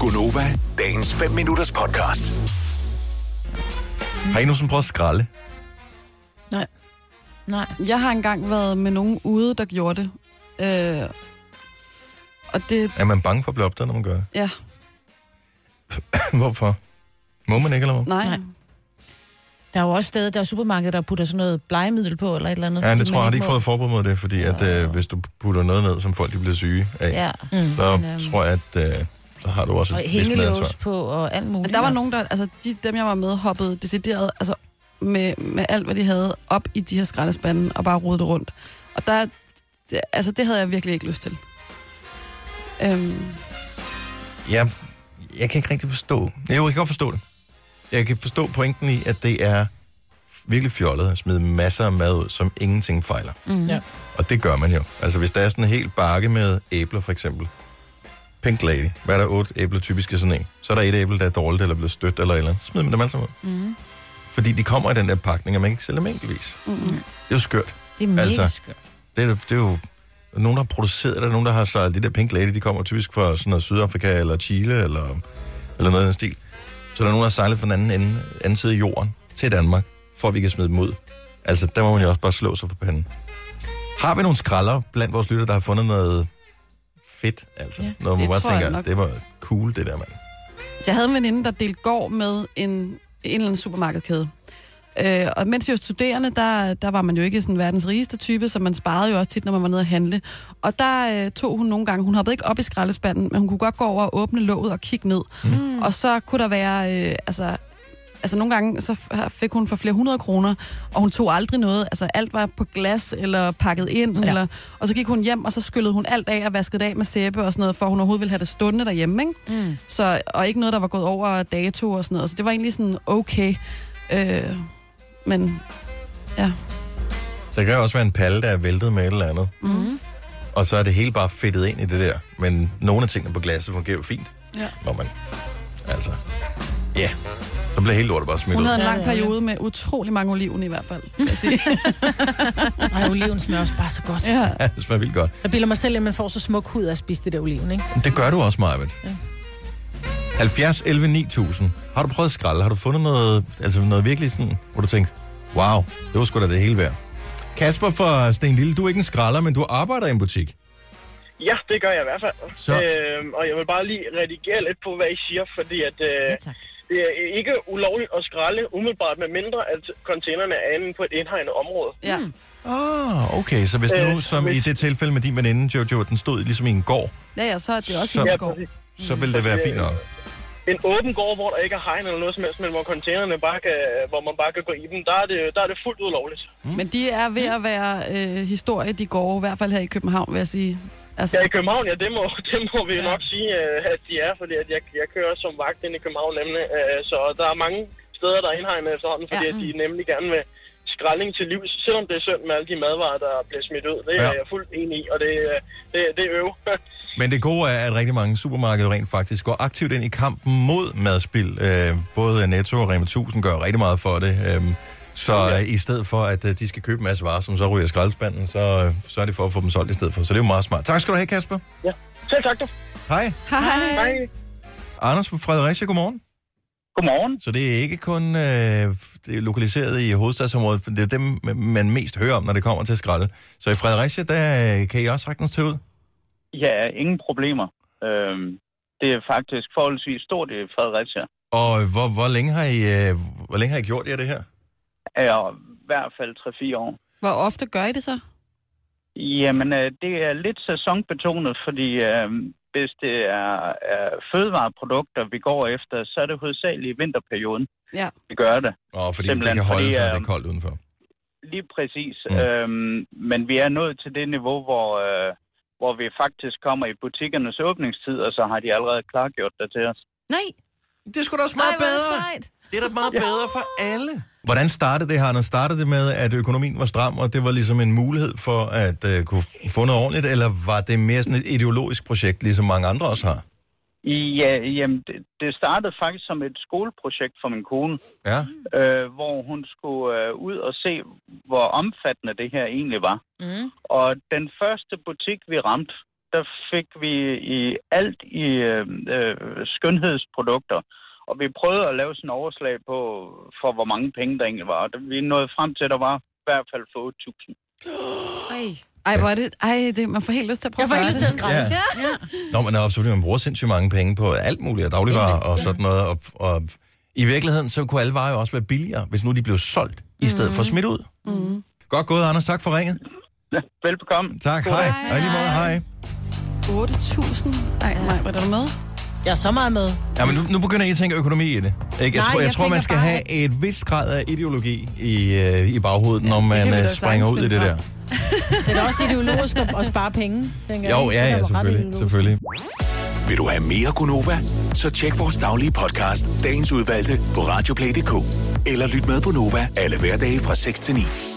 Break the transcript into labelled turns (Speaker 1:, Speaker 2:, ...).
Speaker 1: Gunova, dagens 5 minutters podcast.
Speaker 2: Har I nogensinde prøvet at skralde?
Speaker 3: Nej.
Speaker 4: Nej.
Speaker 3: Jeg har engang været med nogen ude, der gjorde det. Øh, og det...
Speaker 2: Er man bange for at blive opdaget, når man gør det?
Speaker 3: Ja,
Speaker 2: Hvorfor? Må man ikke, eller hvad?
Speaker 3: nej.
Speaker 4: Nej.
Speaker 3: nej.
Speaker 4: Der er jo også steder, der er supermarkeder, der putter sådan noget blegemiddel på, eller et eller andet.
Speaker 2: Ja,
Speaker 4: fordi
Speaker 2: det tror jeg,
Speaker 4: man
Speaker 2: har de ikke
Speaker 4: må-
Speaker 2: fået forbud mod det, fordi at, øh, hvis du putter noget ned, som folk de bliver syge af, ja.
Speaker 4: Ja, mm.
Speaker 2: så
Speaker 4: Men, øhm,
Speaker 2: tror jeg, at øh, så har du også
Speaker 4: og
Speaker 2: et vist medansvar.
Speaker 4: hængelås på, og alt
Speaker 3: Men
Speaker 4: muligt.
Speaker 3: der var nogen, der... Altså, de, dem, jeg var med, hoppede decideret altså, med, med alt, hvad de havde, op i de her skraldespande og bare rodede det rundt. Og der... Det, altså, det havde jeg virkelig ikke lyst til. Øhm,
Speaker 2: Jeg, jeg kan ikke rigtig forstå. Jo, jeg kan godt forstå det. Jeg kan forstå pointen i, at det er virkelig fjollet at smide masser af mad ud, som ingenting fejler.
Speaker 4: Mm. Ja.
Speaker 2: Og det gør man jo. Altså, hvis der er sådan en hel bakke med æbler, for eksempel. Pink Lady. Hvad er der otte æbler typisk i sådan en? Så er der et æble, der er dårligt, eller blevet stødt, eller et eller andet. Smid dem alle sammen ud. Mm. Fordi de kommer i den der pakning, og man kan ikke sælge dem enkeltvis. Mm. Det er jo skørt.
Speaker 4: Det er mega
Speaker 2: Altså.
Speaker 4: altså. skørt.
Speaker 2: Det er, det er jo nogen, der har produceret det, nogen, der har sejlet det der Pink Lady, de kommer typisk fra sådan noget Sydafrika eller Chile eller, eller noget i den stil. Så der er nogen, der har sejlet fra den anden, ende, anden side af jorden til Danmark, for at vi kan smide dem ud. Altså, der må man jo også bare slå sig for panden. Har vi nogle skralder blandt vores lytter, der har fundet noget fedt, altså? Ja,
Speaker 4: Ja,
Speaker 2: når man
Speaker 3: det
Speaker 2: bare
Speaker 3: tror jeg
Speaker 2: tænker,
Speaker 3: nok.
Speaker 2: det var cool, det der, mand.
Speaker 3: Så jeg havde en veninde, der delte gård med en, en eller anden supermarkedkæde. Øh, og mens jeg var studerende, der, der var man jo ikke sådan verdens rigeste type, så man sparede jo også tit, når man var nede at handle. Og der øh, tog hun nogle gange, hun hoppede ikke op i skraldespanden, men hun kunne godt gå over og åbne låget og kigge ned. Mm. Og så kunne der være, øh, altså, altså nogle gange, så f- fik hun for flere hundrede kroner, og hun tog aldrig noget. Altså alt var på glas eller pakket ind, ja. eller, og så gik hun hjem, og så skyllede hun alt af og vaskede det af med sæbe og sådan noget, for hun overhovedet ville have det stående derhjemme, ikke?
Speaker 4: Mm.
Speaker 3: Så, og ikke noget, der var gået over dato og sådan noget. Så det var egentlig sådan okay. Øh, men ja,
Speaker 2: Der kan jo også være en palle, der er væltet med et eller andet.
Speaker 3: Mhm.
Speaker 4: Mm.
Speaker 2: Og så er det hele bare fedtet ind i det der. Men nogle af tingene på glasset fungerer jo fint.
Speaker 3: Ja.
Speaker 2: Når man... Altså... Ja. Yeah. Så bliver hele lortet bare smidt
Speaker 3: hun
Speaker 2: ud.
Speaker 3: havde en
Speaker 4: Ja,
Speaker 3: lang
Speaker 4: ja, ja.
Speaker 3: periode med utrolig mange oliven i hvert fald. vil jeg sige.
Speaker 4: Ej, oliven smager også bare så godt. Ja.
Speaker 3: ja.
Speaker 2: Ja, det smager vildt godt.
Speaker 4: Jeg bilder mig selv, at man får så smuk hud af at spise det der oliven, ikke?
Speaker 2: Men det gør du også, Marvind. Ja.
Speaker 4: Ja.
Speaker 2: 70, 11, 9000. Har du prøvet at skralde? Har du fundet noget, altså noget virkelig sådan, hvor du tænkte, wow, det var sgu da det hele værd. Kasper fra Sten Lille, du er ikke en skralder, men du arbejder i en butik.
Speaker 5: Ja, det gør jeg i hvert fald.
Speaker 2: Så-
Speaker 5: Øhm, og jeg vil bare lige redigere lidt på, hvad I siger, fordi at, øh,
Speaker 4: Ja, tak.
Speaker 5: det er ikke ulovligt at skralde umiddelbart, med mindre at containerne er inde på et indhegnet område.
Speaker 3: ja.
Speaker 2: Ah, okay, så hvis nu,
Speaker 5: Øh,
Speaker 2: som i
Speaker 5: hvis-
Speaker 2: det tilfælde med din veninde, Jojo, at den stod ligesom i en gård,
Speaker 3: Ja, ja, så er det også
Speaker 2: Så-
Speaker 3: så...
Speaker 5: Ja,
Speaker 3: i går.
Speaker 5: præcis.
Speaker 2: så ville det være fint nok.
Speaker 5: en åben gård, hvor der ikke er hegn eller noget som helst, men hvor containerne bare kan, hvor man bare kan gå i dem, der er det, der er det fuldt ud lovligt.
Speaker 3: Men de er ved at være øh, historie, de går i hvert fald her i København, vil jeg sige. Altså,
Speaker 5: Ja, i København, ja, det må, det må vi ja. nok sige, øh, at de er, fordi at jeg, jeg kører som vagt inde i København nemlig, øh, så der er mange steder, der er indhegnet efterhånden, fordi
Speaker 3: Ja.
Speaker 5: ja. at de nemlig gerne vil skraldning til livs, selvom det er synd med alle de madvarer, der bliver smidt ud. Det er
Speaker 2: Ja.
Speaker 5: jeg fuldt enig i, og det, øh, det, det er øv.
Speaker 2: Men det gode er, at rigtig mange supermarkeder rent faktisk går aktivt ind i kampen mod madspild. Øh, både Netto og Rema 1000 gør rigtig meget for det. Øh, så ja. i stedet for, at øh, de skal købe en masse varer, som så ryger i skraldespanden, så øh, sørger de for at få dem solgt i stedet for. Så det er jo meget smart. Tak skal du have, Kasper.
Speaker 5: ja. Selv tak, du.
Speaker 2: Hej.
Speaker 3: hej.
Speaker 5: Hej.
Speaker 2: Anders fra Fredericia, godmorgen.
Speaker 6: Godmorgen.
Speaker 2: Så det er ikke kun øh, det er lokaliseret i hovedstadsområdet, for det er dem, man mest hører om, når det kommer til at skralde. Så i Fredericia, der øh, kan I også sagtens tage ud.
Speaker 6: Ja, ingen problemer. Øhm, det er faktisk forholdsvis stort i Fredericia.
Speaker 2: Og hvor, hvor, længe har I, øh, hvor længe har I gjort jer det her?
Speaker 6: Er i hvert fald 3-4 år.
Speaker 3: Hvor ofte gør I det så?
Speaker 6: Jamen, øh, det er lidt sæsonbetonet, fordi øh, hvis det er øh, fødevareprodukter, vi går efter, så er det hovedsageligt i vinterperioden,
Speaker 3: Ja.
Speaker 6: vi gør det.
Speaker 2: Åh, fordi det
Speaker 6: Simpelthen,
Speaker 2: kan holde
Speaker 6: fordi,
Speaker 2: sig, når
Speaker 6: øh,
Speaker 2: det er koldt udenfor.
Speaker 6: Lige præcis.
Speaker 2: Mm.
Speaker 6: Mm. Øhm, men vi er nået til det niveau, hvor, øh, hvor vi faktisk kommer i butikkernes åbningstid, og så har de allerede klargjort det til os.
Speaker 4: Nej,
Speaker 2: Det er sgu da også
Speaker 4: Ej, hvor er det sejt.
Speaker 2: Det er da meget bedre for alle. Hvordan startede det her? Når startede det med, at økonomien var stram, og det var ligesom en mulighed for at uh, kunne f- få noget ordentligt, eller var det mere sådan et ideologisk projekt, ligesom mange andre også har?
Speaker 6: Ja, jamen, det, det startede faktisk som et skoleprojekt for min kone,
Speaker 2: Ja,
Speaker 6: øh, hvor hun skulle øh, ud og se, hvor omfattende det her egentlig var.
Speaker 4: Mm.
Speaker 6: Og den første butik, vi ramte, der fik vi i alt i øh, øh, skønhedsprodukter. Og vi prøvede at lave sådan en overslag på, for hvor mange penge der egentlig var. Og der- Vi nåede frem til, at der var i hvert fald for 8.000.
Speaker 4: Ej.
Speaker 3: Ej, hvor er det... Ej, det, man får helt lyst til at prøve
Speaker 4: Jeg får
Speaker 3: at
Speaker 4: helt
Speaker 3: gøre
Speaker 4: lyst til at
Speaker 3: det.
Speaker 4: skræmme.
Speaker 2: Ja.
Speaker 4: Ja. ja.
Speaker 2: Nå, men absolut, man bruger sindssygt mange penge på alt muligt, og dagligvarer og sådan noget. Og, og i virkeligheden, så kunne alle varer jo også være billigere, hvis nu de blev solgt, i stedet for smidt ud.
Speaker 3: Mhm.
Speaker 2: Godt gået, Anders. Tak for ringet.
Speaker 6: Velbekomme.
Speaker 2: Tak.
Speaker 6: God
Speaker 2: Hej.
Speaker 6: dag.
Speaker 2: Hej. Og i lige måde, hej.
Speaker 3: 8.000. Ej, nej, hvor er du med?
Speaker 4: Jeg er så meget med.
Speaker 2: Ja, men nu, nu begynder I at tænke økonomi i det. Ikke? Jeg,
Speaker 4: Nej,
Speaker 2: tror, jeg,
Speaker 4: jeg
Speaker 2: tror, man
Speaker 4: tænker
Speaker 2: skal
Speaker 4: bare,
Speaker 2: have et vist grad af ideologi i, øh, i baghovedet, ja, når man
Speaker 3: kan vi
Speaker 2: øh,
Speaker 3: da
Speaker 2: springer ud
Speaker 3: sagtens
Speaker 2: i det
Speaker 3: finde
Speaker 2: der.
Speaker 3: frem.
Speaker 4: Det er da også ideologisk at, at spare penge, tænker jeg.
Speaker 2: Jo,
Speaker 4: Det er
Speaker 2: ja,
Speaker 4: da
Speaker 2: ja,
Speaker 4: ret
Speaker 2: selvfølgelig.
Speaker 4: ideologisk.
Speaker 2: selvfølgelig.
Speaker 1: Vil du have mere Gunova? Så tjek vores daglige podcast, dagens udvalgte, på radioplay.dk. Eller lyt med på Nova alle hverdage fra 6 til 9.